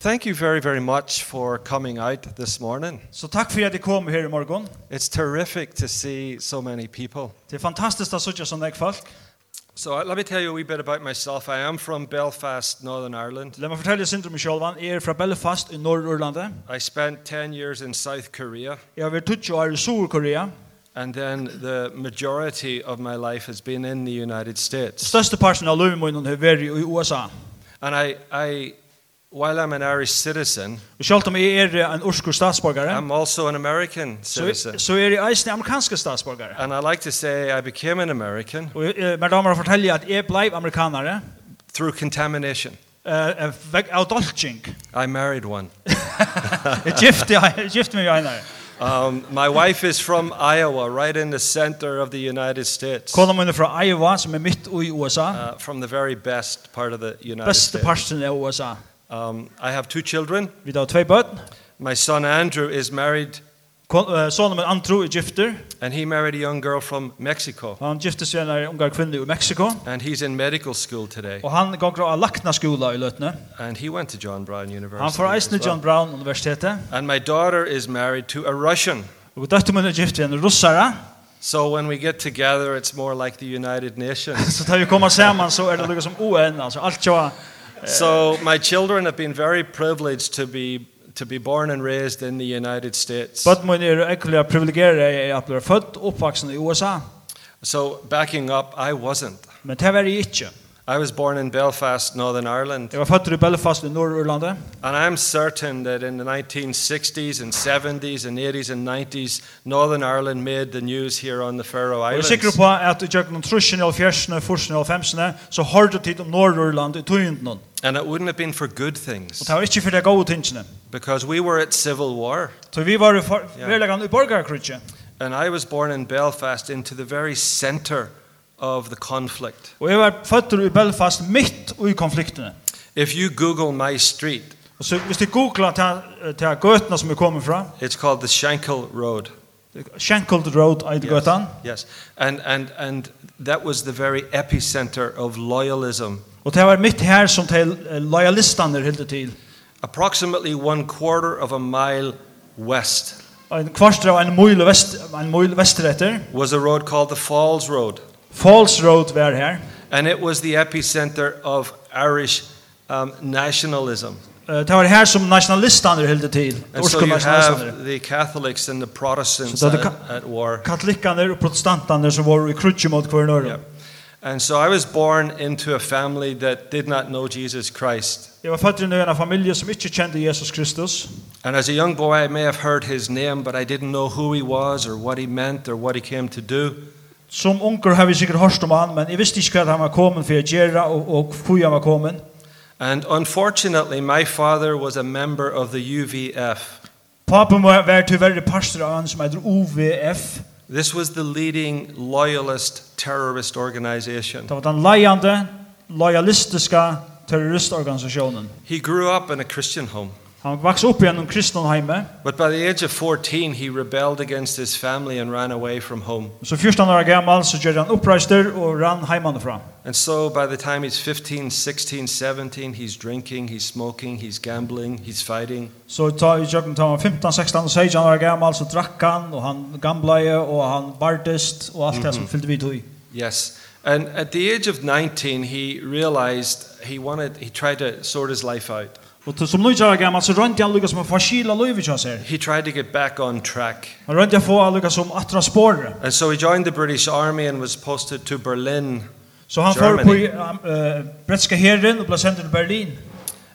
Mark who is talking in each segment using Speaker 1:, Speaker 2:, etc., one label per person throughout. Speaker 1: Thank you very, very much for coming out this morning.
Speaker 2: Så takk for at jeg kom her i morgen.
Speaker 1: It's terrific to see so many people.
Speaker 2: Det er fantastisk at sitte sånn jeg folk.
Speaker 1: So uh, let me tell you a wee bit about myself. I am from Belfast, Northern Ireland.
Speaker 2: La meg fortelle sin om meg selv. Jeg er fra Belfast i Nord-Irlandet.
Speaker 1: I spent 10 years in South Korea,
Speaker 2: Jeg har vært 20 år i Sør-Korea.
Speaker 1: and then the majority of my life has been in the United States.
Speaker 2: Største parten av livet min har vært i USA.
Speaker 1: And I, I while I'm an Irish citizen,
Speaker 2: Og selv om jeg er en urskur statsborgare,
Speaker 1: I'm also an American
Speaker 2: så,
Speaker 1: citizen.
Speaker 2: så er jeg eisen amerikanske statsborgare.
Speaker 1: And I like to say I became an American
Speaker 2: Og eh, mine damer og fortelle at jeg blei amerikanere
Speaker 1: through contamination.
Speaker 2: eh, eh, vekk av dolking.
Speaker 1: I married one.
Speaker 2: Jeg gifte, jeg gifte meg i einare.
Speaker 1: Um, my wife is from Iowa, right in the center of the United States,
Speaker 2: Kona min er fra Iowa, som er midt i USA.
Speaker 1: uh, from the very best part of the United
Speaker 2: Beste
Speaker 1: States.
Speaker 2: parten er av USA.
Speaker 1: Um, I have two children.
Speaker 2: Vi har tvei bøtt.
Speaker 1: My son Andrew is married,
Speaker 2: eh, Sonen min Andrew er gifter.
Speaker 1: and he married a young girl from Mexico.
Speaker 2: Han gifte seg en ungar kvinne i Mexico,
Speaker 1: And he's in medical school today.
Speaker 2: og han går av lakna skola i Løtne.
Speaker 1: And he went to John Brown University.
Speaker 2: Han får
Speaker 1: as
Speaker 2: eisen i
Speaker 1: well.
Speaker 2: John Brown Universitetet,
Speaker 1: And my daughter is married to a Russian.
Speaker 2: og døtte min er gift i en russara,
Speaker 1: So when we get together, it's more like the United Nations.
Speaker 2: så tar vi komma saman, så er det lukka som UN, altså alt jo
Speaker 1: so my children have been very privileged to be to be born and raised in the United States.
Speaker 2: Bøtt min er ekkelig privilegere jeg at blir født og oppvaksen i USA,
Speaker 1: So backing up, I wasn't.
Speaker 2: men det var jeg ikke.
Speaker 1: I was born in Belfast, Northern Ireland,
Speaker 2: Jeg var født i Belfast i Nord-Irlandet,
Speaker 1: and I'm certain that in the 1960s and 70s and 80s and 90s, Northern Ireland made the news here on the Faroe
Speaker 2: og jeg er
Speaker 1: Islands.
Speaker 2: sikker på at i tjøkken 30, 40, 40 og 50, så um har du tid om Nord-Irland i tøynden, og
Speaker 1: And it wouldn't have been for good things,
Speaker 2: det var ikke for det gode tingene.
Speaker 1: because we were at civil war,
Speaker 2: Så vi var i for-
Speaker 1: Ja.
Speaker 2: verleggan i borgarkrutje,
Speaker 1: and I was born in Belfast into the very center of the conflict.
Speaker 2: Og jeg var født i Belfast midt i konfliktene.
Speaker 1: If you Google my street,
Speaker 2: Og så hvis du googler til, til gøtene som jeg kommer fra,
Speaker 1: it's called the Shankill Road.
Speaker 2: Shankled Road eit gøtan,
Speaker 1: Yes. And, and, and that was the very epicenter of loyalism
Speaker 2: og det var midt her som til lojalistene hilde til.
Speaker 1: approximately one quarter of a mile west
Speaker 2: En kvarster av en møyle vest, en møyle vestretter,
Speaker 1: was a road called the Falls Road,
Speaker 2: Falls Road var her.
Speaker 1: and it was the epicenter of Irish um, nationalism.
Speaker 2: Eh, Det var her som nationalistene hilde til,
Speaker 1: And so
Speaker 2: orske
Speaker 1: you
Speaker 2: nationalistene.
Speaker 1: have the Catholics and the Protestants
Speaker 2: So that
Speaker 1: at,
Speaker 2: the ca-
Speaker 1: at war.
Speaker 2: Katolikkene og protestantene som var i krutje mot hver nøyre.
Speaker 1: Yeah. And so I was born into a family that did not know Jesus Christ.
Speaker 2: Jeg var født i en familie som ikke kjente Jesus Kristus,
Speaker 1: And as a young boy, I may have heard his name, but I didn't know who he was or what he meant or what he came to do.
Speaker 2: Som unger har vi sikkert hørt om han, men jeg visste ikke hva han var kommet for å gjøre og, og hvor han var kommet.
Speaker 1: And unfortunately, my father was a member of the UVF.
Speaker 2: Papen var, var tyverre pastor av han som heter OVF.
Speaker 1: This was the leading loyalist terrorist organization.
Speaker 2: Det var den leiende, lojalistiske terroristorganisationen.
Speaker 1: He grew up in a Christian home,
Speaker 2: Han vokste opp igjennom kristendomheimet.
Speaker 1: but by the age of 14, he rebelled against his family and ran away from home.
Speaker 2: Så 14 år gammel så gjør han oppreister og rann heimanifra.
Speaker 1: And so by the time he's 15, 16, 17, he's drinking, he's smoking, he's gambling, he's fighting.
Speaker 2: Så ta i jobben tar han 15, 16 og 16 år gammel så drakk han, og han gambleie, og han bardist, og alt det som fylte vidt i.
Speaker 1: Yes. And at the age of 19, he realized he wanted, he tried to sort his life out.
Speaker 2: Og til- som 9 år gammel så rønte han lykkes med å forskjele livet til seg.
Speaker 1: He tried to get back on track.
Speaker 2: Han rønte jeg få lukka som atra spåret.
Speaker 1: And so he joined the British Army and was posted to Berlin.
Speaker 2: Så han får
Speaker 1: Germany.
Speaker 2: på uh, bretska herren og ble sendt til Berlin.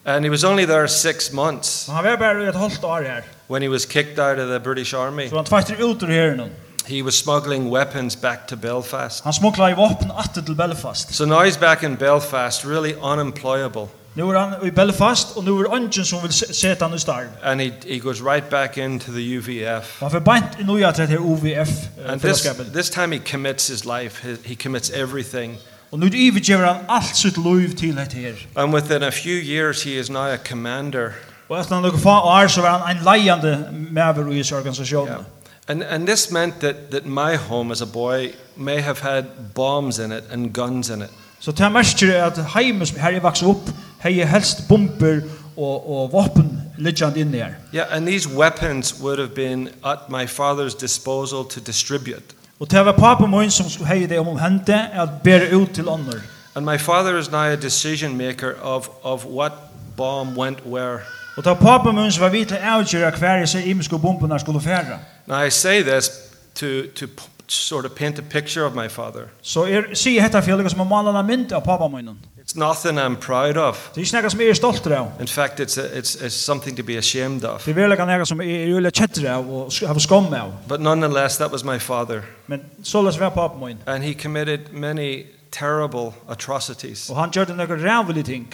Speaker 1: And he was only there six months.
Speaker 2: Men han var bare et halvt år her.
Speaker 1: When he was kicked out of the British Army,
Speaker 2: Så han tvætter ut ur herren.
Speaker 1: he was smuggling weapons back to Belfast.
Speaker 2: Han smukla i våpen atter til Belfast.
Speaker 1: So now he's back in Belfast, really unemployable.
Speaker 2: Nu er han i Belfast, og nu er ønsken som vil se- seta han i starv.
Speaker 1: And he, he goes right back into the UVF.
Speaker 2: Han får beint i nøya til dette eh,
Speaker 1: And this,
Speaker 2: OVF-fellesskapet.
Speaker 1: this time he commits his life, he, he commits everything.
Speaker 2: Og nu ivergjever han alt sitt liv til dette her.
Speaker 1: And within a few years, he is now a commander.
Speaker 2: Og etter noen få år så var han en leiende maver i disse organisasjonen.
Speaker 1: Yeah. And, and this meant that, that my home as a boy may have had bombs in it and guns in it.
Speaker 2: Så det merker jeg at heimen som her jeg vokste opp, hei helst bomber og, og våpen liggjande inne her.
Speaker 1: Yeah, and these weapons would have been at my father's disposal to distribute.
Speaker 2: Og det var papen min som skulle heie det om hente um at bære ut til ånder.
Speaker 1: And my father is now a decision maker of, of what bomb went where.
Speaker 2: Og det var papen min som var vidt til å avgjøre hver jeg ser imenske bombene skulle fære.
Speaker 1: Now, I say this to, to p- sort of paint a picture of my father.
Speaker 2: Så jeg sier dette for jeg lykkes med malene er mynd av papen min.
Speaker 1: It's nothing I'm proud of.
Speaker 2: Det er ikke noe som jeg er stolt av.
Speaker 1: In fact, it's, a, it's, it's something to be ashamed of.
Speaker 2: Det er veldig noe som jeg er veldig kjettere av og sk- har skom av.
Speaker 1: But nonetheless, that was my father.
Speaker 2: Men så løs var papen min.
Speaker 1: And he committed many terrible atrocities.
Speaker 2: Og han gjør det noen rævlig ting.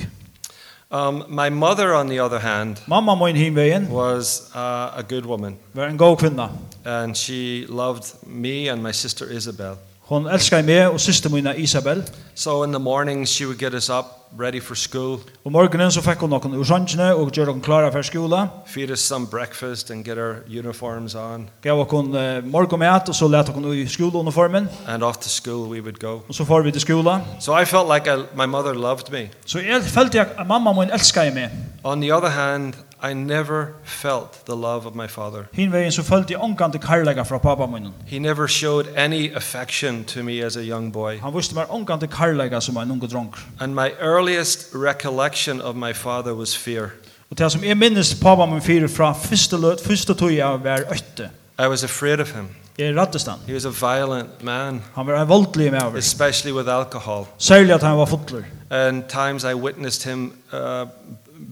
Speaker 1: Um, my mother, on the other hand,
Speaker 2: Mamma min himveien
Speaker 1: was uh, a good woman.
Speaker 2: var en god kvinna.
Speaker 1: And she loved me and my sister Isabel.
Speaker 2: Hon elskar meg og syster min Isabel.
Speaker 1: So in the morning, she would get us up, ready for school,
Speaker 2: Og morgenen så fikk hun noen ur sannsene og gjør hun klare for skola.
Speaker 1: feed us some breakfast, and get our uniforms on.
Speaker 2: Gav hun eh, morgenmat og så let hun i skoleuniformen.
Speaker 1: And off to school we would go.
Speaker 2: Og så får vi til skola.
Speaker 1: So I felt like I, my mother loved me.
Speaker 2: Så jeg følte jeg at mamma min elskar meg.
Speaker 1: On the other hand, I never felt the love of my father.
Speaker 2: Hinveien så følte jeg omgang til karlæga fra pappa min.
Speaker 1: He never showed any affection to me as a young boy.
Speaker 2: Han visste meg omgang til karlæga som en unge dronk.
Speaker 1: And my earliest recollection of my father was fear.
Speaker 2: Og det som jeg minnes pappa min fyrir fra første løt, første tog jeg var øtte.
Speaker 1: I was afraid of him.
Speaker 2: Jeg rattet han.
Speaker 1: He was a violent man,
Speaker 2: Han var en voldelig med over.
Speaker 1: especially with alcohol.
Speaker 2: Særlig at han var fotler.
Speaker 1: And times I witnessed him uh,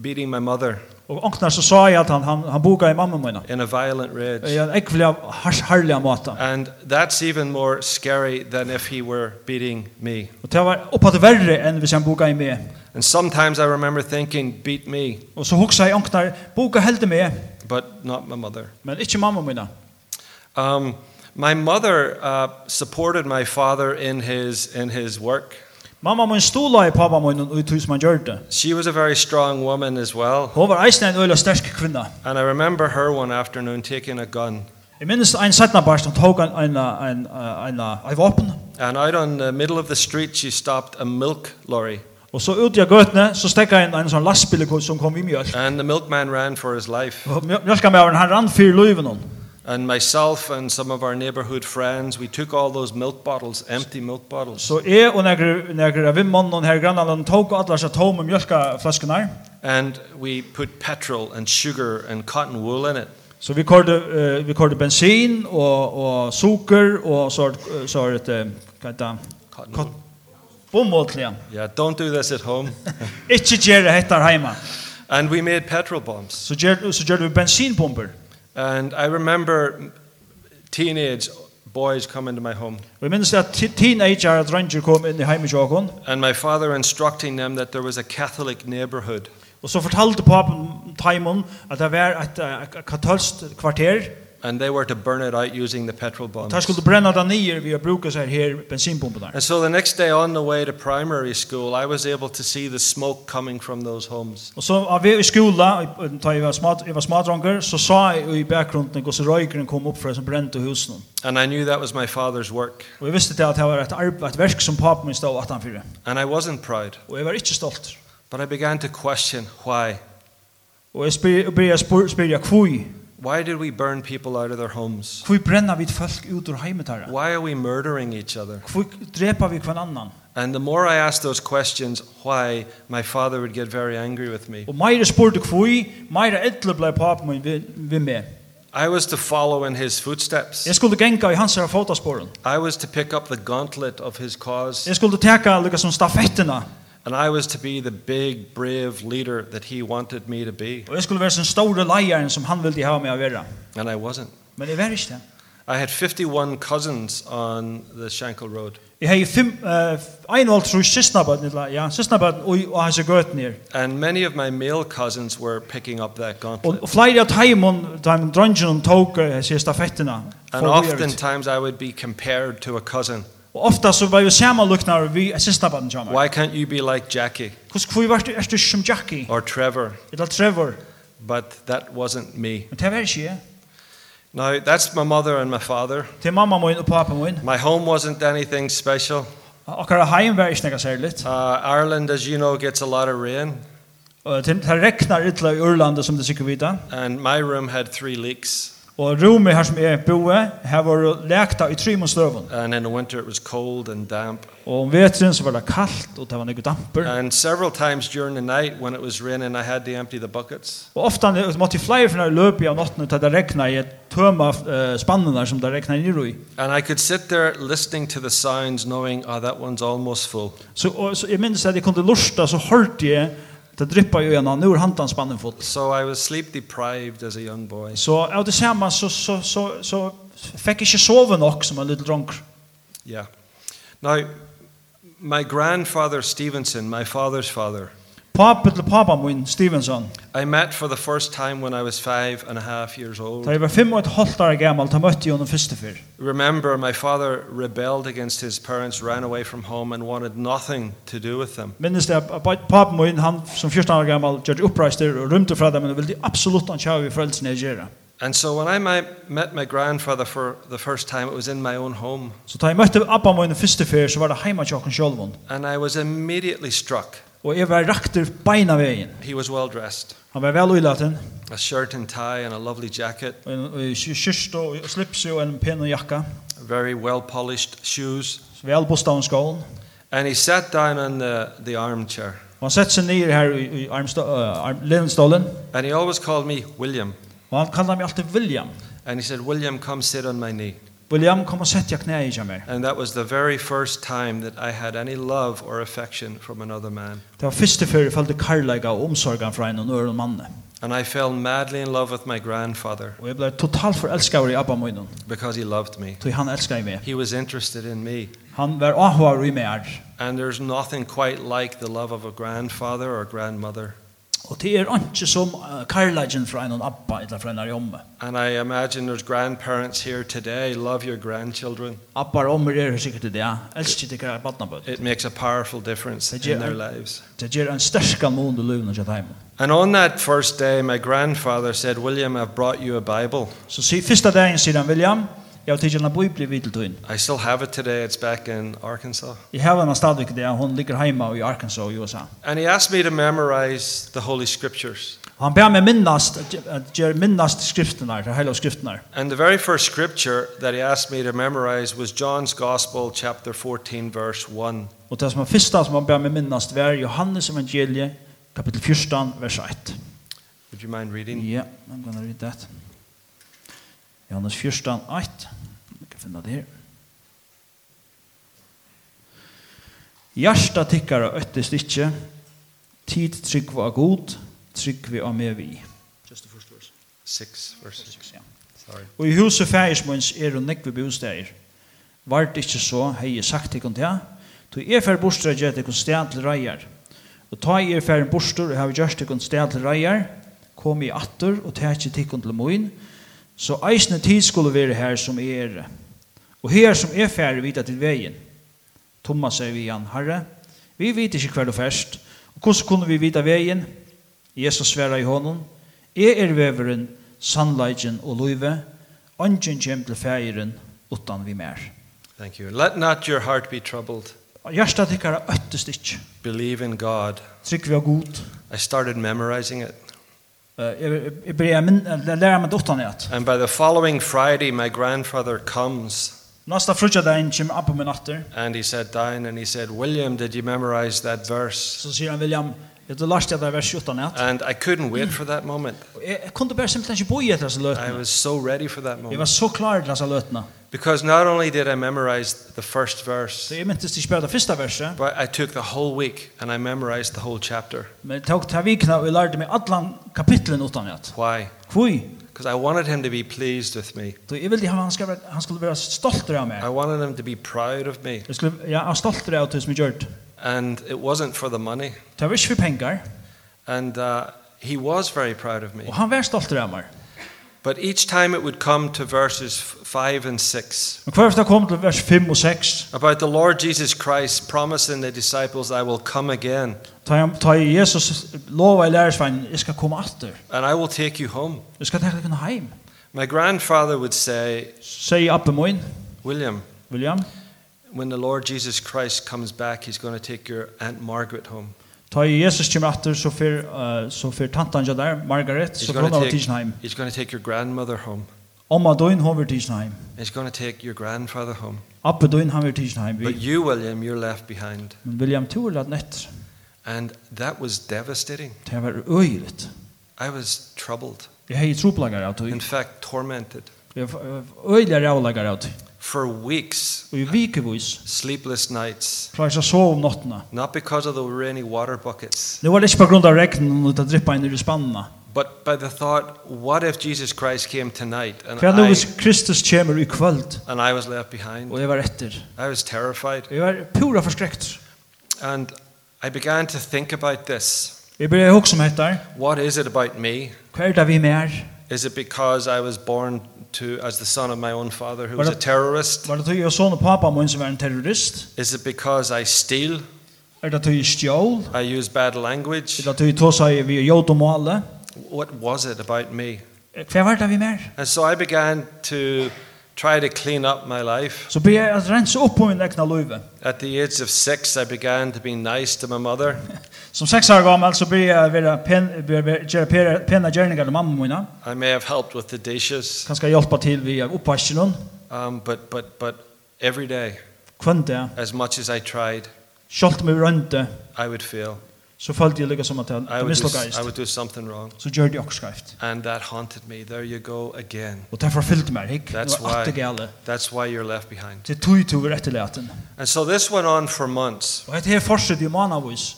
Speaker 1: beating my mother
Speaker 2: Og åknar så sa jeg at han, han, han boka i mamma mina.
Speaker 1: in a violent rage.
Speaker 2: I en ekvelig har, harlig måte.
Speaker 1: And that's even more scary than if he were beating me.
Speaker 2: Og det var opphatt verre enn hvis han boka i meg.
Speaker 1: And sometimes I remember thinking, beat me,
Speaker 2: Og så hoksa jeg åknar, boka heldig meg,
Speaker 1: but not my mother.
Speaker 2: men ikke mamma mina.
Speaker 1: Um, my mother uh, supported my father in his, in his work.
Speaker 2: Mamma min stola i pappa min og i tog som han gjør det.
Speaker 1: She was a very strong woman as well.
Speaker 2: Hun var eisen en øyla sterk kvinna.
Speaker 1: And I remember her one afternoon taking a gun.
Speaker 2: Jeg minnes en setna barst, hun tog en, en, en, en, en, en våpen.
Speaker 1: And out on the middle of the street, she stopped a milk lorry.
Speaker 2: Og så ut i gøtene, så stekka en, en sånn lastbil som kom i mjölk.
Speaker 1: And the milkman ran for his life.
Speaker 2: Og mjö- Mjölkamæveren, han rann fyrir løyven hon.
Speaker 1: And myself and some of our neighborhood friends, we took all those milk bottles, empty milk bottles,
Speaker 2: Så jeg og nekker, nekker av vimmannen her i grannlandet tok alle seg tomme mjölkaflaskenar.
Speaker 1: and we put petrol and sugar and cotton wool in it.
Speaker 2: Så vi kørte, eh, vi kørte bensin og, og sukker og så, eh, så var det, eh, hva heter det,
Speaker 1: Cotton
Speaker 2: Cotton-
Speaker 1: wool.
Speaker 2: bommåtlige.
Speaker 1: Yeah, don't do this at home.
Speaker 2: Ikke gjøre hettar heima.
Speaker 1: and we made petrol bombs.
Speaker 2: Så gjør, så gjør vi bensinpumper.
Speaker 1: And I remember teenage boys coming to my home
Speaker 2: Og jeg minnes det at ti- teenager og dranger kom inn i heimesjåkon,
Speaker 1: and my father instructing them that there was a Catholic neighborhood.
Speaker 2: og så fortalte papen Timon at det var et, eh, et katolskt kvarter,
Speaker 1: and they were to burn it out using the petrol bombs.
Speaker 2: Der skulle brenna det nyer ved å bruke seg her bensinpumpen der.
Speaker 1: And so the next day on the way to primary school, I was able to see the smoke coming from those homes.
Speaker 2: Og så av vi i skola, i- da jeg var, smart, jeg var smadranker, så sa jeg i bakgrunden hvordan røykeren kom opp fra som brente husen.
Speaker 1: And I knew that was my father's work.
Speaker 2: Og jeg visste til at det var et, arbe, et verk som papen min stod 18-4.
Speaker 1: And I wasn't proud,
Speaker 2: Og jeg var ikke stolt.
Speaker 1: but I began to question why.
Speaker 2: Og jeg spyr, spyr, spyr, spyr jeg, hvor?
Speaker 1: Why did we burn people out of their homes?
Speaker 2: Hvor brenner vi folk ut ur heimet her?
Speaker 1: Why are we murdering each other?
Speaker 2: Hvor dreper vi hver annan?
Speaker 1: And the more I asked those questions, why, my father would get very angry with me.
Speaker 2: Og meire spurte hvor, meire etter ble papen min ved, ved meg.
Speaker 1: I was to follow in his
Speaker 2: Jeg
Speaker 1: footsteps,
Speaker 2: skulle genka i hans her fotosporen.
Speaker 1: I was to pick up the gauntlet of his cause,
Speaker 2: Jeg skulle teka lukka som stafettina.
Speaker 1: and I was to be the big, brave leader that he wanted me to be.
Speaker 2: Og jeg skulle være den store leieren som han ville ha meg å være.
Speaker 1: And I wasn't.
Speaker 2: Men jeg var ikke det.
Speaker 1: I had 51 cousins on the Shankill Road,
Speaker 2: Jeg har fem, uh, en og alt trus sistnabøten, eller, ja, sistnabøten og, og hans gøten her.
Speaker 1: and many of my male cousins were picking up that
Speaker 2: Og,
Speaker 1: gauntlet.
Speaker 2: og flere av teimon, teimon dronjen tok uh, seg stafettina.
Speaker 1: And oftentimes I would be compared to a cousin.
Speaker 2: Og ofta så var jo samanluknar vi sistnabøten sammen.
Speaker 1: Why can't you be like Jackie
Speaker 2: Hvordan hvor var du, er du som Jackie,
Speaker 1: or Trevor?
Speaker 2: eller Trevor?
Speaker 1: But that wasn't me.
Speaker 2: Men det var ikke jeg.
Speaker 1: Now, that's my mother and my father.
Speaker 2: Til er mamma min og pappa min.
Speaker 1: My home wasn't anything special.
Speaker 2: Akkurat heim var ikke noe særligt.
Speaker 1: Uh, Ireland, as you know, gets a lot of rain.
Speaker 2: Uh, Og til- det regnar ytla i Urlandet som det sikkert vita.
Speaker 1: and my room had three leaks.
Speaker 2: Og rummet her som jeg boe, her var lekta i tre måneder støvun.
Speaker 1: And in the winter, it was cold and damp.
Speaker 2: Og om vetren så var det kaldt, og det var noe damper.
Speaker 1: And several times during the night when it was raining, I had to empty the buckets.
Speaker 2: Og ofta når jeg måtte jeg flere for når jeg løp i av nottene til det regna i et tøma uh, spannene som det regna i nyrå i.
Speaker 1: And I could sit there listening to the sounds, knowing, oh, that one's almost full.
Speaker 2: Så, og, så jeg minns at jeg kunne lusta, så hørte jeg det dryppa i øynene, nå er hantan spannen fått.
Speaker 1: So I was sleep deprived as a young boy.
Speaker 2: Så av det samme så, så, så, så, fikk jeg ikke sove nok som en liten dronk.
Speaker 1: Yeah. Now, my grandfather Stevenson, my father's father,
Speaker 2: Pape til papa min, Stevenson,
Speaker 1: I met for the first time when I was five and a half years old.
Speaker 2: da jeg var fem og et halvt år gammel, da møtte jeg henne første før.
Speaker 1: Remember, my father rebelled against his parents, ran away from home, and wanted nothing to do with them.
Speaker 2: Minnes det at pa- papen min, han som 14 år gammel, gjør det oppreister og rymte fra dem, men det ville absolutt han kjave i foreldrene jeg gjøre.
Speaker 1: And so when I mi- met my grandfather for the first time, it was in my own home.
Speaker 2: Så da jeg møtte Abba min første fyr, så var det heima tjokken sjolvun.
Speaker 1: And I was immediately struck.
Speaker 2: Og jeg var rakter beina veien.
Speaker 1: He was well dressed
Speaker 2: Han var vel uilaten,
Speaker 1: a shirt and tie and a lovely jacket,
Speaker 2: og en- og i ky- kyrst og og slips og en pen og jakka,
Speaker 1: very well polished shoes.
Speaker 2: så vel bosta og skålen.
Speaker 1: And he sat down on the, the armchair.
Speaker 2: Og han sett seg ned her i, i armstå, uh, arm, levenstålen,
Speaker 1: And he always called me William.
Speaker 2: og han kallar meg alltid William.
Speaker 1: And he said, William, come sit on my knee.
Speaker 2: William, kom og sett jeg knæ i jammer.
Speaker 1: And that was the very first time that I had any love or affection from another man.
Speaker 2: Det var første fyr jeg følte karlaga og omsorgan fra en og er nøren manne.
Speaker 1: And I fell madly in love with my grandfather
Speaker 2: Og jeg ble totalt forelsket i Abba min,
Speaker 1: because he loved me.
Speaker 2: tog han elskar i meg.
Speaker 1: He was interested in me.
Speaker 2: Han var ahoar i meg her.
Speaker 1: And there's nothing quite like the love of a grandfather or grandmother.
Speaker 2: Og det er ikke som uh, karlagen fra en og Abba, eller fra en og jomme.
Speaker 1: And I imagine there's grandparents here today. Love your grandchildren.
Speaker 2: Abbar og ommer er sikkert det, ja. Elsker det ikke badnabød.
Speaker 1: It makes a powerful difference
Speaker 2: Did
Speaker 1: in
Speaker 2: you-
Speaker 1: their lives.
Speaker 2: Det gjør en største mån du løvner til dem.
Speaker 1: And on that first day, my grandfather said, William, I've brought you a Bible.
Speaker 2: Så si, første dagen sier han, William, jeg har tidligere en bøybli vidt til inn.
Speaker 1: I still have it today. It's back in Arkansas.
Speaker 2: Jeg har henne stadigvæk det, hun ligger hjemme i Arkansas i USA.
Speaker 1: And he asked me to memorize the Holy Scriptures.
Speaker 2: Han ber meg minnast, eh, at gjør minnast skriftene, det hele skriftene.
Speaker 1: And the very first scripture that he asked me to memorize was John's Gospel, chapter 14, verse 1.
Speaker 2: Og det som er første som han ber meg minnast, var Johannes evangeliet, kapittel 14, vers 1.
Speaker 1: Would you mind reading?
Speaker 2: Yeah, I'm gonna read that. Johannes 14, 8. Vi kan finne det her. Hjärsta tikkara öttest ikkje, tid trygg var god, trygg vi av med vi. Just the first verse.
Speaker 1: Six, verse six.
Speaker 2: Ja.
Speaker 1: Sorry.
Speaker 2: Og i huset fægismunns er hun nekve bostæger. Vart ikkje så, hei jeg sagt ikkon til han, to er fær bostra gjør ikkon stæd til reier. Og ta er fær en bostor og hei gjørst ikkon stæd til reier, kom i atter og ta ikkje tikkon til moin, så eisne tid skulle være her som er. Og her som er fær vita til vegin. Thomas er sier vi han, Herre, vi vet ikke hver du først, og hvordan kunne vi vite veien? Jesus sverar i honom, jeg er veveren, sannleiken og løyve, ånden kjem til feiren, utan vi mer.
Speaker 1: Thank you. Let not your heart be troubled.
Speaker 2: Hjertet tykkar er øttest ikke.
Speaker 1: Believe in God.
Speaker 2: Trygg vi av god.
Speaker 1: I started memorizing it.
Speaker 2: Eh, Jeg jeg blir min, jeg lærer eh, meg dottan i at.
Speaker 1: And by the following Friday, my grandfather comes
Speaker 2: Nasta frutja dagen kjem Abba min atter,
Speaker 1: and he sat down and he said, William, did you memorize that verse?
Speaker 2: så sier han William, jeg du lærte jeg deg vers 17 i at.
Speaker 1: And I couldn't wait for that moment.
Speaker 2: Og Jeg jeg kunne bare simpelthen ikke bo i etter hans
Speaker 1: I
Speaker 2: løtene.
Speaker 1: was so ready for that
Speaker 2: Jeg
Speaker 1: moment.
Speaker 2: var så klar til hans løtene.
Speaker 1: Because not only did I memorize the first verse,
Speaker 2: Så jeg myntes ikke bare det første verset,
Speaker 1: But I took the whole week and I memorized the whole chapter.
Speaker 2: Men jeg tok til vikna og jeg lærte meg allan kapitlen utan at.
Speaker 1: Why?
Speaker 2: Hvor?
Speaker 1: Because I wanted him to be pleased with me.
Speaker 2: Så jeg ville han, skal, være- han skulle være stolter av meg.
Speaker 1: I wanted him to be proud of me.
Speaker 2: Jeg skulle, ja, han stolter av det som jeg gjør.
Speaker 1: And it wasn't for the money.
Speaker 2: Det var ikke for penger,
Speaker 1: And uh, he was very proud of me.
Speaker 2: og han var stolter av meg.
Speaker 1: But each time it would come to verses f- 5 and 6
Speaker 2: Men hver efter kom til vers 5 og 6,
Speaker 1: about the Lord Jesus Christ promising the disciples, I will come again
Speaker 2: ta, han- ta Jesus lova i lærersveien, jeg skal komme atter.
Speaker 1: and I will take you home.
Speaker 2: Jeg skal tenke deg heim.
Speaker 1: My grandfather would say,
Speaker 2: Sier Abbe Moin,
Speaker 1: William,
Speaker 2: William,
Speaker 1: when the Lord Jesus Christ comes back, he's going to take your Aunt Margaret home.
Speaker 2: Ta i Jesus kommer atter, så fer, uh, så fer tantan ja der, Margaret,
Speaker 1: He's
Speaker 2: så fer
Speaker 1: gonna
Speaker 2: hun av
Speaker 1: take-
Speaker 2: Tidsheim.
Speaker 1: He's going to take your grandmother home.
Speaker 2: Omma døgn hun var Tidsheim.
Speaker 1: He's going to take your grandfather home.
Speaker 2: Abbe døgn han var Tidsheim.
Speaker 1: But
Speaker 2: Men
Speaker 1: you, William, you're left behind.
Speaker 2: William er Thor lad nett.
Speaker 1: And that was devastating.
Speaker 2: Det var øyeligt.
Speaker 1: I was troubled,
Speaker 2: Jeg hei troplagar av tøy.
Speaker 1: in fact, tormented.
Speaker 2: Jeg øyelige rævlagar av tøy.
Speaker 1: For weeks,
Speaker 2: Og i vikevis,
Speaker 1: sleepless nights,
Speaker 2: klarer jeg så sov om nottene.
Speaker 1: not because of the rainy water buckets,
Speaker 2: Det var ikke på grunn av regnen og det drippa inn i spannene.
Speaker 1: but by the thought, what if Jesus Christ came tonight and
Speaker 2: For nå
Speaker 1: I,
Speaker 2: hvis Kristus kommer i kvöld,
Speaker 1: and I was left behind?
Speaker 2: og jeg var etter.
Speaker 1: I was terrified.
Speaker 2: Jeg var pura forskrekt.
Speaker 1: And I began to think about this.
Speaker 2: Jeg ble hokk som heter,
Speaker 1: What is it about me?
Speaker 2: hva er det vi mer?
Speaker 1: Is it because I was born to as the son of my own father who was
Speaker 2: Well,
Speaker 1: a terrorist?
Speaker 2: Var det tøy og sånn og pappa min som var en terrorist?
Speaker 1: Is it because I steal?
Speaker 2: Er det tøy stjål?
Speaker 1: I use bad language?
Speaker 2: Er det tøy tåsa i vi er jord og måle?
Speaker 1: What was it about me?
Speaker 2: Eh, Hva var det vi mer?
Speaker 1: And so I began to try to clean up my life.
Speaker 2: Så ble jeg at rense opp på min egna løyve.
Speaker 1: At the age of 6 I began to be nice to my mother.
Speaker 2: Som seks år gammel så ble jeg være pen, ble- ble- gjøre pera- pena gjerninger til mamma mine.
Speaker 1: I may have helped with the dishes,
Speaker 2: Kanskje hjelpa til vi oppvasken noen.
Speaker 1: um, but but but every day
Speaker 2: Kvønte jeg.
Speaker 1: as much as I tried,
Speaker 2: Kjølt meg rønte.
Speaker 1: I would fail.
Speaker 2: Så følte jeg lykke som at jeg
Speaker 1: I
Speaker 2: jeg
Speaker 1: would, do, s-
Speaker 2: mislukket.
Speaker 1: I would do something wrong.
Speaker 2: Så gjør det også skreft.
Speaker 1: And that haunted me. There you go again.
Speaker 2: Og derfor fyllte meg, ikke?
Speaker 1: That's
Speaker 2: det var
Speaker 1: why,
Speaker 2: alltid gale.
Speaker 1: that's why you're left behind.
Speaker 2: Til tog tog var etterleten.
Speaker 1: And so this went on for months.
Speaker 2: Og dette her fortsatte i månedvis.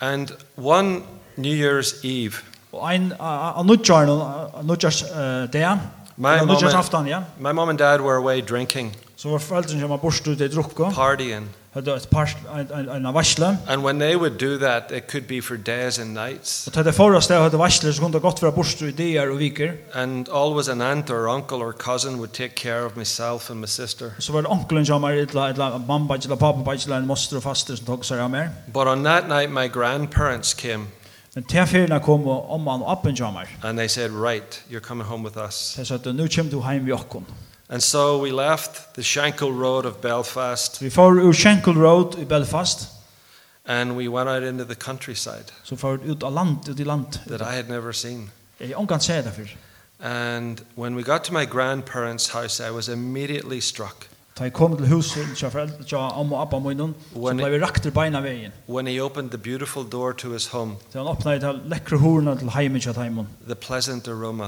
Speaker 1: And one New Year's Eve,
Speaker 2: Og en av nødgjørn, av nødgjørs det,
Speaker 1: my
Speaker 2: av
Speaker 1: mom,
Speaker 2: nødgjørs
Speaker 1: and,
Speaker 2: aftan, ja.
Speaker 1: my mom and dad were away drinking,
Speaker 2: Så var foreldrene som var borst ut i drukko,
Speaker 1: partying.
Speaker 2: hadde et par, en, en, en av varsle.
Speaker 1: And when they would do that, it could be for days and nights.
Speaker 2: Og til det forrige stedet hadde varsle, så kunne det godt være borst i der og viker.
Speaker 1: And always an aunt or uncle or cousin would take care of myself and my sister.
Speaker 2: Og så var det onkelen som var et eller mamma, et eller pappa, et eller en moster og faster som tog seg av mer.
Speaker 1: But on that night, my grandparents came
Speaker 2: Men til ferien kom og omman og appen som var.
Speaker 1: and they said, Right, you're coming home with us.
Speaker 2: Så jeg sa at nå kommer du hjem vi okken.
Speaker 1: And so we left the Shankill Road of Belfast
Speaker 2: Så vi får ur Shankill Road i Belfast,
Speaker 1: and we went out into the countryside
Speaker 2: så får vi ut av land, ut i land.
Speaker 1: that I had never seen.
Speaker 2: Jeg omgang sier det for.
Speaker 1: And when we got to my grandparents' house, I was immediately struck.
Speaker 2: Da jeg kom til huset, tja foreldre, tja amma og abba munnen, så
Speaker 1: When
Speaker 2: ble vi rakt til beina veien.
Speaker 1: When he opened the beautiful door to his home,
Speaker 2: Så han åpnet de lekre horene til heimen tja heimen.
Speaker 1: the pleasant aroma,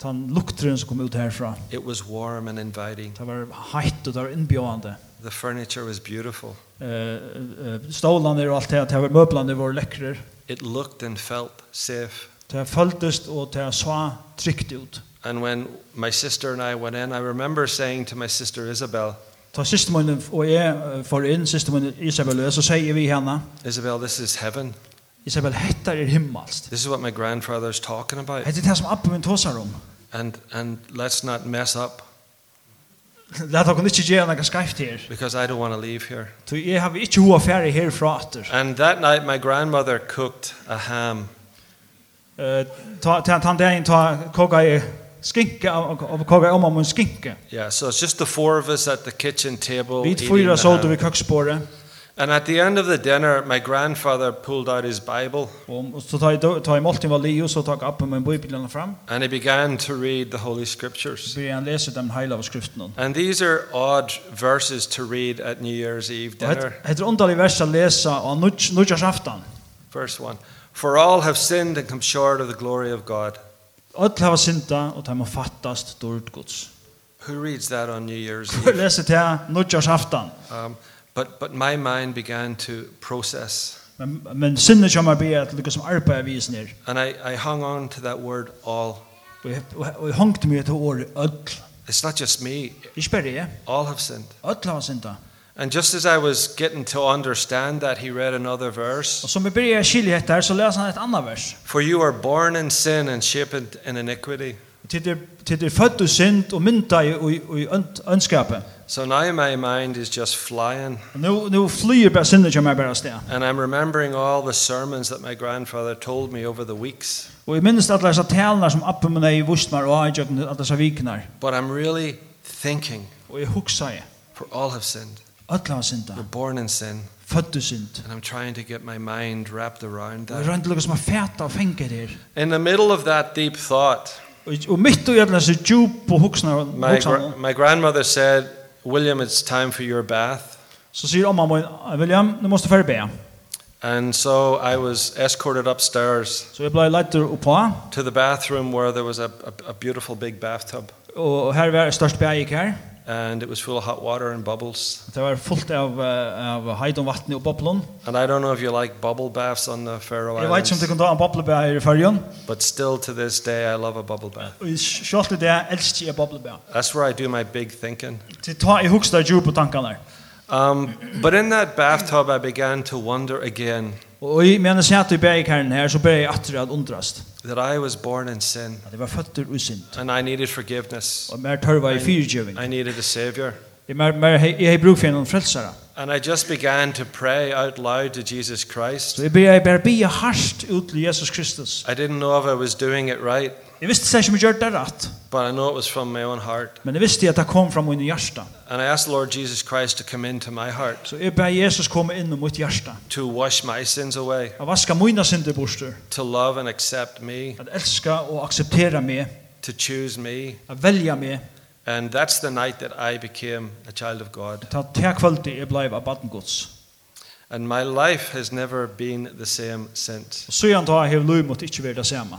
Speaker 2: Så han lukteren som kom ut herfra.
Speaker 1: it was warm and inviting.
Speaker 2: Det var heitt og det var innbjående.
Speaker 1: The furniture was beautiful.
Speaker 2: Uh, uh, stålene og alt det, det var møblene var lekre.
Speaker 1: It looked and felt safe.
Speaker 2: Det føltes og det så trygt ut.
Speaker 1: And when my sister and I went in, I remember saying to my sister Isabel,
Speaker 2: Ta siste munnen, og jeg uh, får inn siste munnen Isabel, og så sier vi henne,
Speaker 1: Isabel, this is heaven.
Speaker 2: Isabel, hettar er himmelst.
Speaker 1: This is what my grandfather's talking about.
Speaker 2: Hette det som abba um? min tåsar om.
Speaker 1: And, and let's not mess up
Speaker 2: Læt dere ikke gjøre noe skreft her.
Speaker 1: because I don't want to leave here.
Speaker 2: Så jeg har ikke hoa ferdig herfra atter.
Speaker 1: And that night, my grandmother cooked a ham.
Speaker 2: Eh, ta ta ta den ta koka i skinke av av- koka om om en skinke.
Speaker 1: Yeah, so it's just the four of us at the kitchen table.
Speaker 2: Vi
Speaker 1: eating
Speaker 2: fyra
Speaker 1: the
Speaker 2: så
Speaker 1: ham.
Speaker 2: vi köksbordet
Speaker 1: And at the end of the dinner, my grandfather pulled out his Bible
Speaker 2: och så tar jag tar i måltid var Leo så tar upp med bibeln fram.
Speaker 1: and he began to read the Holy
Speaker 2: Så
Speaker 1: Scriptures.
Speaker 2: börjar han läsa den hela av skriften.
Speaker 1: And these are odd verses to read at New Year's Eve dinner.
Speaker 2: Det heter underlig er vers att läsa av nudjarsaftan.
Speaker 1: Verse 1 For all have sinned and come short of the glory of God.
Speaker 2: Öll hava synda och ta må fattast dårligt Guds.
Speaker 1: Who reads that on New Year's
Speaker 2: Jag
Speaker 1: Eve?
Speaker 2: läser det nudjarsaftan.
Speaker 1: Um, but, but my mind began to process.
Speaker 2: Men, men sinne kommer bli att lyckas som arbetar vis ner.
Speaker 1: And I, I hung on to that word all.
Speaker 2: Och jag, och jag hångt mig till år öll.
Speaker 1: It's not just me,
Speaker 2: Ikke bare jeg.
Speaker 1: all have sinned.
Speaker 2: Öll hava synda.
Speaker 1: And just as I was getting to understand that, he read another verse
Speaker 2: Og som vi byrjar skilja hetta her, så leser han et annet vers.
Speaker 1: For you are born in sin and shaped in iniquity.
Speaker 2: Tid er, tid er født og synd og mynda i, i, i ønd- øndskapet.
Speaker 1: So now my mind is just flying,
Speaker 2: Og Nå, nå flyr bare synden som er bare sted.
Speaker 1: and I'm remembering all the sermons that my grandfather told me over the weeks.
Speaker 2: Og jeg minnes alle disse talene som appen min er i Vustmar og i Jøkken, alle disse vikene.
Speaker 1: But I'm really thinking,
Speaker 2: Og jeg huksa jeg.
Speaker 1: for all have sinned.
Speaker 2: Ødla var synda.
Speaker 1: We're born in sin.
Speaker 2: fødde synd.
Speaker 1: And I'm trying to get my mind wrapped around
Speaker 2: Det er
Speaker 1: that.
Speaker 2: rønt lukket som er fæta og fengt her.
Speaker 1: In the middle of that deep thought,
Speaker 2: Og- Og mitt og gjerne så djup og huksna
Speaker 1: my,
Speaker 2: huksna.
Speaker 1: gra- my grandmother said, William, it's time for your bath.
Speaker 2: Så sier omma min, William, du måste färre be.
Speaker 1: And so I was escorted upstairs
Speaker 2: Så jeg ble leitur oppa,
Speaker 1: to the bathroom where there was a, a, a beautiful big bathtub.
Speaker 2: og her var størst be jeg gikk her.
Speaker 1: And it was full of hot water and bubbles.
Speaker 2: Det var fullt av, eh, av heid og vatten og boblon.
Speaker 1: And I don't know if you like bubble baths on the Faroe
Speaker 2: Jeg vet
Speaker 1: Islands,
Speaker 2: ikke om du kan ta en boblebæ her i färgen.
Speaker 1: but still to this day I love a bubble bath.
Speaker 2: Og sjålt i det elsker jeg boblebæ.
Speaker 1: That's where I do my big thinking.
Speaker 2: Til ta i huksna djup og tankarna.
Speaker 1: Um, but in that bathtub, I began to wonder again
Speaker 2: Og i mena sett i bergkaren her, så ber jeg atre at undrast.
Speaker 1: that I was born in sin
Speaker 2: At jeg var føtter og synd.
Speaker 1: and I needed forgiveness.
Speaker 2: Og mer tørva i fyrtjøving.
Speaker 1: I needed a savior.
Speaker 2: Jeg mer, mer, hei- jeg har brug for noen frelsere.
Speaker 1: And I just began to pray out loud to Jesus Christ.
Speaker 2: Så jeg ber jeg bare bia harst ut til Jesus Kristus.
Speaker 1: I didn't know if I was doing it right,
Speaker 2: Jeg visste seg som jeg gjør det rett.
Speaker 1: but I know it was from my own heart.
Speaker 2: Men jeg visste at det kom fra min hjärsta.
Speaker 1: And I asked the Lord Jesus Christ to come into my heart,
Speaker 2: Så jeg ber Jesus komme inn i mitt hjärsta.
Speaker 1: to wash my sins away,
Speaker 2: At vaska mina synder borster.
Speaker 1: to love and accept me,
Speaker 2: At elska og akseptera meg.
Speaker 1: to choose me.
Speaker 2: At velja meg.
Speaker 1: And that's the night that I became a child of God.
Speaker 2: Ta ta kvöldi jeg blei av baden gods.
Speaker 1: And my life has never been the same since.
Speaker 2: Og så jeg antar jeg lov mot ikke være det samme.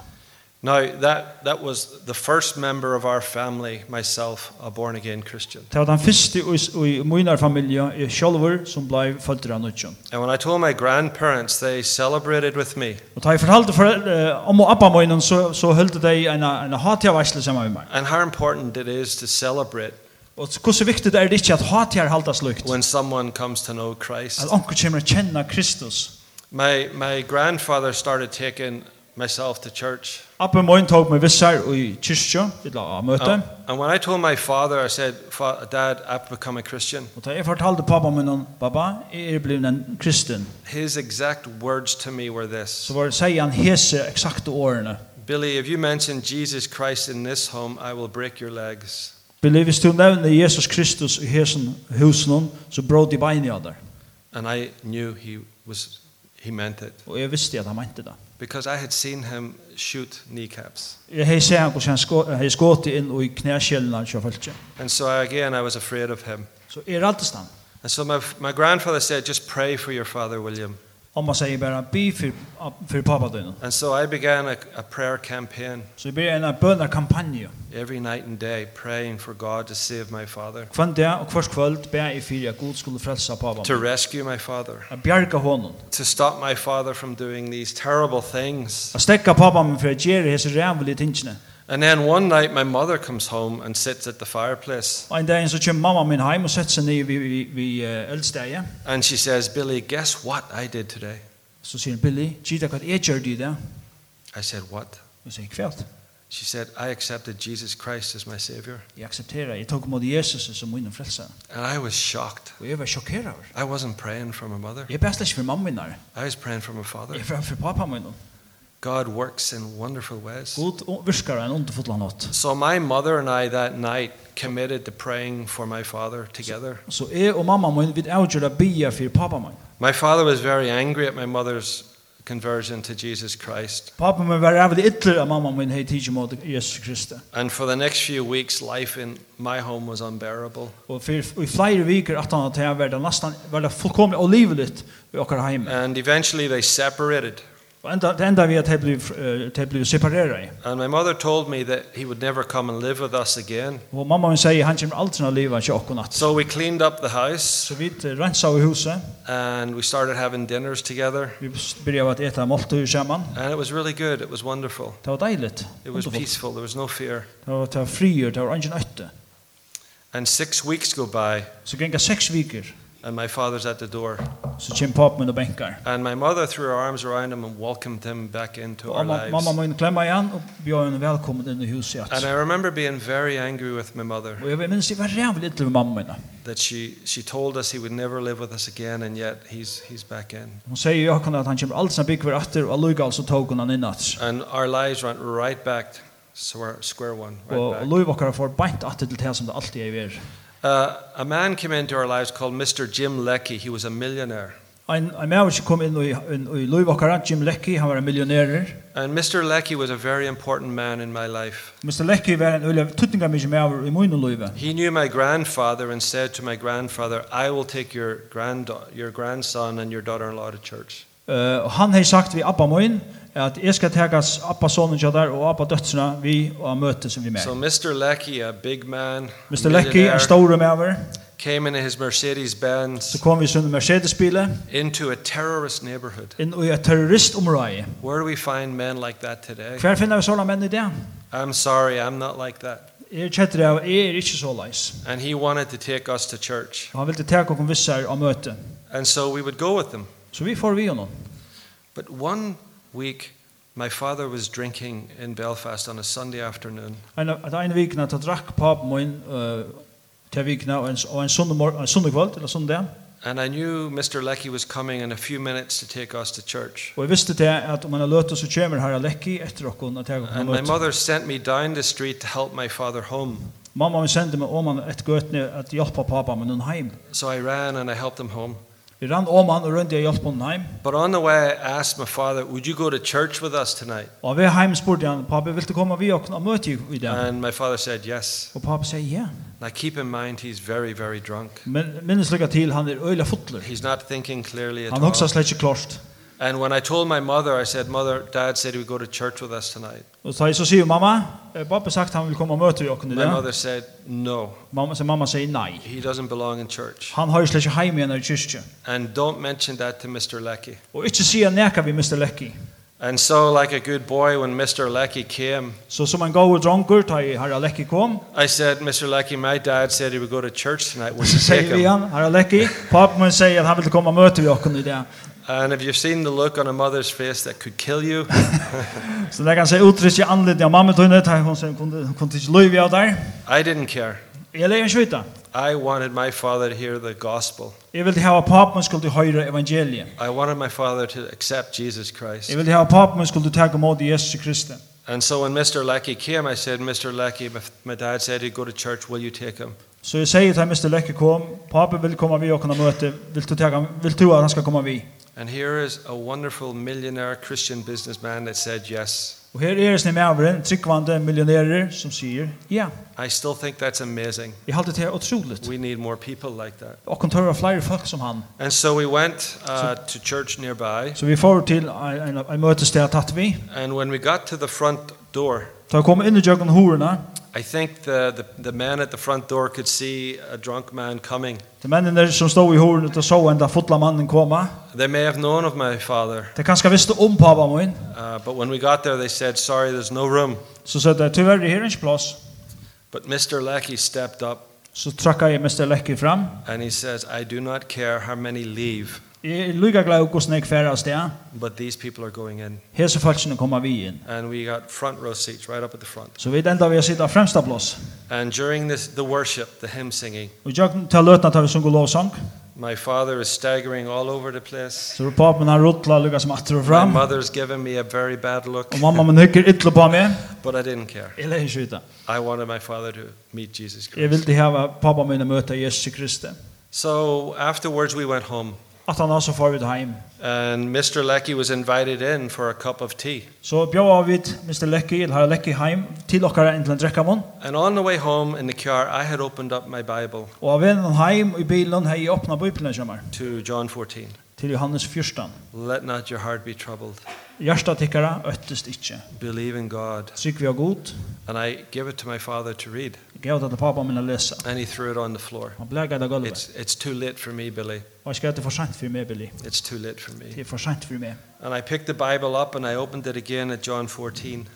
Speaker 1: Now, that, that was the first member of our family, myself, a born again Christian.
Speaker 2: Det var den første i, i min familie, jeg sjølver, som blei født av nødgjøn.
Speaker 1: And when I told my grandparents, they celebrated with me.
Speaker 2: Og da jeg fortalte for, eh, om og appa min, så, så hølte de en, en hatjaversle sammen med meg.
Speaker 1: And how important it is to celebrate
Speaker 2: Og så- hvordan viktig er det ikke at hatjar haltas lukt?
Speaker 1: when someone comes to know Christ.
Speaker 2: At onker kommer å kjenne Kristus.
Speaker 1: My, my grandfather started taking myself to church.
Speaker 2: Appa min tog meg vissar i kyrkja, i la møte.
Speaker 1: Um, And when I told my father, I said, "Fa- Dad, I've become a Christian.
Speaker 2: Og da jeg fortalte pappa min, pappa, jeg er blivet en kristen.
Speaker 1: His exact words to me were
Speaker 2: Så
Speaker 1: this
Speaker 2: var det sier han hese eksakte årene.
Speaker 1: Billy, if you mention Jesus Christ in this home, I will break your legs.
Speaker 2: Believe hvis du nevner Jesus Kristus i hesen husen, så bråd de bein i av der.
Speaker 1: And I knew he, was, he meant it
Speaker 2: Og jeg visste at han mente det.
Speaker 1: because I had seen him shoot kneecaps.
Speaker 2: Jeg har sett hvordan han sko- har skått inn i knæskjellene til folk.
Speaker 1: And so I, again, I was afraid of him.
Speaker 2: Så er alt i stand.
Speaker 1: And so my, my grandfather said, Just pray for your father, William.
Speaker 2: Om man sier bare, be for, for pappa din.
Speaker 1: And so I began a, a prayer campaign
Speaker 2: Så det blir en bønarkampanje.
Speaker 1: every night and day, praying for God to save my father,
Speaker 2: Hvem det og hver kvöld ber jeg for at Gud skulle frelse pappa.
Speaker 1: to rescue my father,
Speaker 2: Jeg bjerga honom.
Speaker 1: to stop my father from doing these terrible things.
Speaker 2: Jeg stekka pappa min for at gjøre hese rævlige tingene.
Speaker 1: And then one night, my mother comes home and sits at the fireplace
Speaker 2: Og en dag så kommer mamma min heim og setter seg ned vid, vid, vid eh, eldstedet.
Speaker 1: and she says, Billy, guess what I did today?
Speaker 2: Så sier hun, Billy, gita hva jeg gjør det i dag?
Speaker 1: I said, What?
Speaker 2: Og sier, kvælt.
Speaker 1: She said, I accepted Jesus Christ as my Savior.
Speaker 2: Jeg aksepterer, jeg tok mot Jesus som min frelse.
Speaker 1: And I was shocked.
Speaker 2: Og jeg var sjokkerer.
Speaker 1: I wasn't praying for my mother,
Speaker 2: Jeg er best ikke for mamma er min her.
Speaker 1: I was praying for my father.
Speaker 2: Jeg var for pappa min.
Speaker 1: God works in wonderful ways.
Speaker 2: Gud virker en underfotla nått.
Speaker 1: So my mother and I that night committed to praying for my father together.
Speaker 2: Så jeg og mamma min vil avgjøre bia for pappa min.
Speaker 1: My father was very angry at my mother's conversion to Jesus Christ.
Speaker 2: Pappa min var rævlig ytler av mamma min hei tidsi mot Jesus Kristi.
Speaker 1: And for the next few weeks, life in my home was unbearable.
Speaker 2: Og fyr, i flere viker at han at jeg var det nesten var det fullkomlig olivligt i okkar heim.
Speaker 1: And eventually they separated.
Speaker 2: Og enda, det enda vi at jeg bliv, eh, at jeg bliv separera i.
Speaker 1: And my mother told me that he would never come and live with us again.
Speaker 2: Og mamma min sier han kommer aldri til å leva ikke okkur natt.
Speaker 1: So we cleaned up the house
Speaker 2: Så vi eh, rensa i huset,
Speaker 1: and we started having dinners together.
Speaker 2: vi byrja at eta måltid saman.
Speaker 1: And it was really good. It was wonderful.
Speaker 2: Det var deiligt.
Speaker 1: It was
Speaker 2: underfullt.
Speaker 1: peaceful. There was no fear.
Speaker 2: Det var, det var frier, det var ingen øtte.
Speaker 1: And six weeks go by,
Speaker 2: Så genga seks viker,
Speaker 1: and my father's at the door.
Speaker 2: så kommer pappa min og benkar.
Speaker 1: And my mother threw her arms around him and welcomed him back into
Speaker 2: Og
Speaker 1: our
Speaker 2: mamma, mamma
Speaker 1: lives.
Speaker 2: min klemma igjen og bjør henne velkommen inn i huset.
Speaker 1: And
Speaker 2: igjen.
Speaker 1: I remember being very angry with my mother
Speaker 2: Og jeg minns jeg var rævlig ytler med mamma min.
Speaker 1: that she, she told us he would never live with us again, and yet he's, he's back in.
Speaker 2: Hon säger ju också att han kommer alls att bygga efter och alluga alltså tog hon han innat.
Speaker 1: And our lives went right back, square, square one,
Speaker 2: Och
Speaker 1: right back.
Speaker 2: alluga och får bänt att till det som det alltid är vi är.
Speaker 1: Uh, a man came into our lives called Mr. Jim Leckie. He was a millionaire.
Speaker 2: Ein ein maður sum kom inn í inn í Louisville Jim Leckie, hann var ein millionærer.
Speaker 1: And Mr. Leckie was a very important man in my life.
Speaker 2: Mr. Leckie var ein ulla tuttinga mig maður í munum Louisville.
Speaker 1: He knew my grandfather and said to my grandfather, I will take your, grand, your grandson and your daughter in law to church.
Speaker 2: Eh og han hei sagt við Abba Moin at eg skal taka Abba sonen hjá der og Abba døtrina vi og møte som vi med.
Speaker 1: So Mr. Leckie, a big man,
Speaker 2: Mr. Leckie er
Speaker 1: millionaire,
Speaker 2: stóru maður.
Speaker 1: came in his Mercedes
Speaker 2: Så
Speaker 1: Benz
Speaker 2: kom vi sunn Mercedes bile
Speaker 1: into a terrorist neighborhood.
Speaker 2: inn i et terroristområde.
Speaker 1: Where do we find men like that today?
Speaker 2: Hver finner vi sånne menn i det?
Speaker 1: I'm sorry, I'm not like that.
Speaker 2: Jeg kjetter av, jeg er ikke så leis.
Speaker 1: And he wanted to take us to church.
Speaker 2: Han ville ta oss vissar av møte.
Speaker 1: And so we would go with them.
Speaker 2: Så vi får vi honom.
Speaker 1: But one week, my father was drinking in Belfast on a Sunday afternoon.
Speaker 2: En, at en vikna, ta drakk papen min uh, til vikna, og en, og en sundag mor- en sundag kvöld, eller sundag,
Speaker 1: And I knew Mr. Leckie was coming in a few minutes to take us to church.
Speaker 2: og jeg visste til at um om han har løtt så kommer her lekki etter okkon og ta oss
Speaker 1: And my
Speaker 2: møte.
Speaker 1: mother sent me down the street to help my father home.
Speaker 2: Mamma min sendte meg om han et gøtne at hjelpa papen min hun um heim.
Speaker 1: So I ran and I helped him home.
Speaker 2: Vi rann om han og rundt jeg hjelpa hun um heim.
Speaker 1: But on the way, I asked my father, Would you go to church with us tonight?
Speaker 2: Og vi heim spurte han, papi, vil du komme vi okkon og møte i det?
Speaker 1: And my father said, Yes.
Speaker 2: Og papi sier, ja.
Speaker 1: Now keep in mind, he's very, very drunk.
Speaker 2: Men minnes lykka til, han er øyla fotler.
Speaker 1: He's not thinking clearly at
Speaker 2: Han hoksar
Speaker 1: all.
Speaker 2: slett ikke klart.
Speaker 1: And when I told my mother, I said, Mother, Dad said he would go to church with us tonight.
Speaker 2: Og så så sier mamma, eh, pappa sagt han vil komme og møte vi okken i
Speaker 1: My
Speaker 2: det.
Speaker 1: mother said, No,
Speaker 2: Mamma, så mamma sier nei.
Speaker 1: he doesn't belong in church.
Speaker 2: Han har jo slett ikke heim igjen i kyrkje.
Speaker 1: And don't mention that to Mr. Leckie.
Speaker 2: Og ikke sier neka vi Mr. Lekki.
Speaker 1: And so, like a good boy, when Mr. Leckie came,
Speaker 2: Så som en god dronker, da i herra Lekki kom,
Speaker 1: I said, Mr. Leckie, my dad said he would go to church tonight. Would
Speaker 2: så
Speaker 1: you take
Speaker 2: sier vi
Speaker 1: him?
Speaker 2: han, herra Lekki, pappa min sier at han vil komme og møte vi okken i det.
Speaker 1: And if you've seen the look on a mother's face that could kill you,
Speaker 2: Så det kan seg utrykk i anledning av mamma tunne, da hun sier, kunne kunne ikke løyve av der.
Speaker 1: I didn't care.
Speaker 2: Jeg leier ikke vita.
Speaker 1: I wanted my father to hear the gospel.
Speaker 2: Jeg ville hava pappa min skulle høyre evangeliet.
Speaker 1: I wanted my father to accept Jesus Christ.
Speaker 2: Jeg ville hava pappa min skulle ta imot Jesus Kristus.
Speaker 1: And so when Mr. Leckie came, I said, Mr. Leckie, my- my dad said he'd go to church. Will you take him?
Speaker 2: Så jeg sier til Mr. Lekke kom, papi vil komme vi og kunne møte, vil du, tega, vil du at han skal komme vi?
Speaker 1: And here is a wonderful millionaire Christian businessman that said yes.
Speaker 2: Og her er det snill med avren, tryggvande millionærer som sier, ja,
Speaker 1: I still think that's amazing.
Speaker 2: jeg halte det her utroligt.
Speaker 1: We need more people like that.
Speaker 2: Og kan tørre flere folk som han.
Speaker 1: And so we went uh, to church nearby.
Speaker 2: Så vi får til en, en, en møtested at tatt vi.
Speaker 1: And when we got to the front door,
Speaker 2: Da kom inn i jøkken horene,
Speaker 1: I think the, the, the man at the front door could see a drunk man coming.
Speaker 2: de mennene som stod i horene og så enda fotla mannen komme.
Speaker 1: They may have known of my father,
Speaker 2: De kanskje visste om pappa min,
Speaker 1: uh, but when we got there, they said, Sorry, there's no room.
Speaker 2: så sa de, tyvärr her er ikke plass.
Speaker 1: But Mr. Leckie stepped up
Speaker 2: Så trakka jeg Mr. Lekke fram.
Speaker 1: and he says, I do not care how many leave,
Speaker 2: Jeg er lykke glad i hvordan jeg færre av sted.
Speaker 1: but these people are going in.
Speaker 2: Hese falskene kommer vi inn.
Speaker 1: And we got front row seats right up at the front.
Speaker 2: Så vi enda vi sitter fremsta plås.
Speaker 1: And during this, the worship, the hymn singing,
Speaker 2: Og jeg tar løtna til vi sunga lovsang.
Speaker 1: my father is staggering all over the place.
Speaker 2: Så papen han ruttla lukka som atter og
Speaker 1: My
Speaker 2: fram.
Speaker 1: mother's giving me a very bad look,
Speaker 2: Og mamma min hykker ytla på meg.
Speaker 1: but I didn't care.
Speaker 2: Jeg leier ikke ut
Speaker 1: I wanted my father to meet Jesus
Speaker 2: Jeg
Speaker 1: Christ.
Speaker 2: vildi hava pappa min å møte Jesus Kristi.
Speaker 1: So afterwards, we went home.
Speaker 2: At han også får vi til heim.
Speaker 1: And Mr. Leckie was invited in for a cup of tea.
Speaker 2: Så bjóa vi til Mr. Lekki, eller herra Lekki heim, til okkara enn til en drekkamon.
Speaker 1: And on the way home in the car, I had opened up my Bible
Speaker 2: Og av vennen heim i bilen hei jeg åpna bøypina kjammer.
Speaker 1: to John 14.
Speaker 2: Til Johannes 14.
Speaker 1: Let not your heart be troubled.
Speaker 2: Hjärsta tikkara øttest ikkje.
Speaker 1: Believe in God.
Speaker 2: Trygg vi har god.
Speaker 1: And I gave it to my father to read.
Speaker 2: Jeg gav det til pappa min å lese.
Speaker 1: And he threw it on the floor.
Speaker 2: Han blæga det gulvet.
Speaker 1: It's, it's too late for me, Billy.
Speaker 2: Og jeg skal det er for sent for meg, Billy.
Speaker 1: It's too late for me.
Speaker 2: Det er for sent for meg.
Speaker 1: And I picked the Bible up and I opened it again at John 14.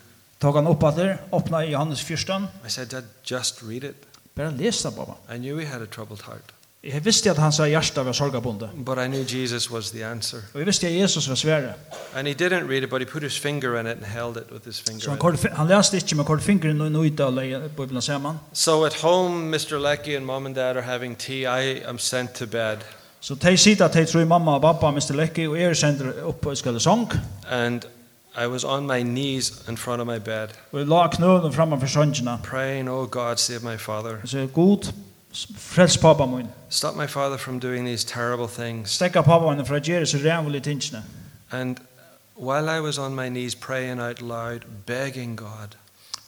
Speaker 2: Tog han upp att det, öppna i Johannes 14.
Speaker 1: I said, Dad, just read it.
Speaker 2: Bara läs det bara.
Speaker 1: I knew he had a troubled heart,
Speaker 2: Jag visste att hans hjärta var sorgabonde.
Speaker 1: but I knew Jesus was the answer.
Speaker 2: Och jag visste att Jesus var sväre.
Speaker 1: And he didn't read it, but he put his finger in it and held it with his finger.
Speaker 2: Så han,
Speaker 1: in
Speaker 2: kort, han läste inte med kort fingren och nöjda och lägga Bibeln samman.
Speaker 1: it. So at home, Mr. Leckie and mom and dad are having tea. I am sent to bed.
Speaker 2: Så de sitter att de tror mamma och pappa, Mr. Lecky och er sänder upp och skulle sång.
Speaker 1: And I was on my knees in front of my bed,
Speaker 2: Och jag la knöden framför sångerna.
Speaker 1: praying, Oh God, save my father.
Speaker 2: Så god, Frels pappa min.
Speaker 1: Stop my father from doing these terrible things.
Speaker 2: Stekka pappa min fra gjerri så rævlig tingene.
Speaker 1: And while I was on my knees praying out loud, begging God,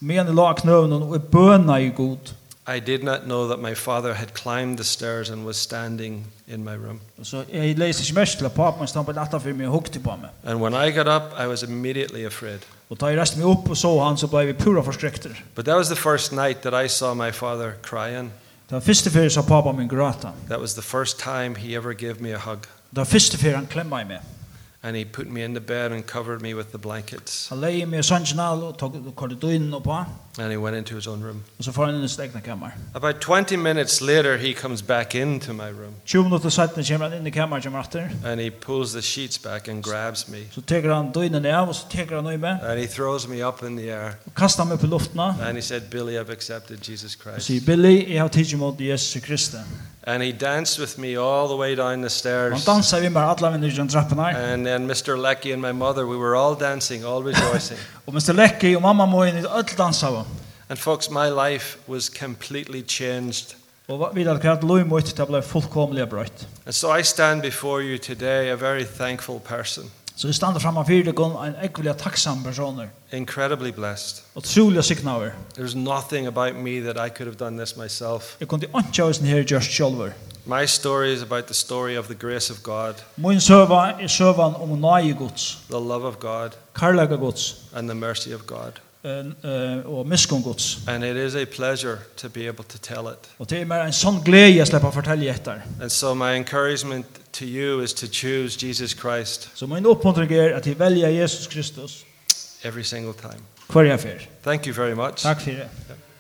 Speaker 2: Men la knøvn og i bøna i god.
Speaker 1: I did not know that my father had climbed the stairs and was standing in my room.
Speaker 2: Og Så jeg leser ikke mest til at pappa min stampet etter for meg og hukte på meg.
Speaker 1: And when I got up, I was immediately afraid.
Speaker 2: Og da jeg reiste meg opp og så han, så ble vi pura forskrekter.
Speaker 1: But that was the first night that I saw my father crying.
Speaker 2: Det var første fyrir sa pappa min gråta.
Speaker 1: That was the first time he ever gave me a hug.
Speaker 2: Det var første fyrir han klemma i meg.
Speaker 1: And he put me into bed and covered me with the blankets.
Speaker 2: Han leie meg i sannsjonal og tok korridoinen opp på.
Speaker 1: And he went into his own room.
Speaker 2: Og så får han inn i stegna kammer.
Speaker 1: About 20 minutes later, he comes back into my room
Speaker 2: 20 minutter siden kommer han inn i kammer kommer atter.
Speaker 1: and he pulls the sheets back and grabs me.
Speaker 2: Så teker han dynen av og så teker han i meg.
Speaker 1: And he throws me up in the air.
Speaker 2: Og kastar meg på luftna.
Speaker 1: And he said, Billy, I've accepted Jesus
Speaker 2: Og
Speaker 1: Christ.
Speaker 2: sier, Billy, jeg har tidsi mot Jesus Kristi.
Speaker 1: And he danced with me all the way down the
Speaker 2: Han
Speaker 1: stairs.
Speaker 2: dansar vi med alla vinner i den trappen her.
Speaker 1: And then Mr. Leckie and my mother, we were all dancing, all rejoicing.
Speaker 2: Og Mr. Lecky og mamma må inn i öll dansa av.
Speaker 1: and folks, my life was completely changed.
Speaker 2: Og va- vi hadde kvart loj mot til det ble fullkomlig brøyt.
Speaker 1: And so I stand before you today, a very thankful person,
Speaker 2: Så vi standa framman fyrir det gong en ekvelig takksam personer.
Speaker 1: incredibly blessed.
Speaker 2: Og trolig signaver.
Speaker 1: There's nothing about me that I could have done this myself.
Speaker 2: Jeg kunne ikke av sin her just sjolver.
Speaker 1: My story is about the story of the grace of God,
Speaker 2: Min søva er søvan om nøye gods,
Speaker 1: the love of God,
Speaker 2: karlaga gods
Speaker 1: and the mercy of God.
Speaker 2: eh, eh, og miskon gods.
Speaker 1: And it is a pleasure to be able to tell it.
Speaker 2: Og det er mer en sånn glede jeg slipper å fortelle etter.
Speaker 1: And so my encouragement to you is to choose Jesus Christ
Speaker 2: Så min oppmuntring er at jeg velger Jesus Kristus
Speaker 1: every single time.
Speaker 2: hver jeg fer.
Speaker 1: Thank you very much.
Speaker 2: Takk for det.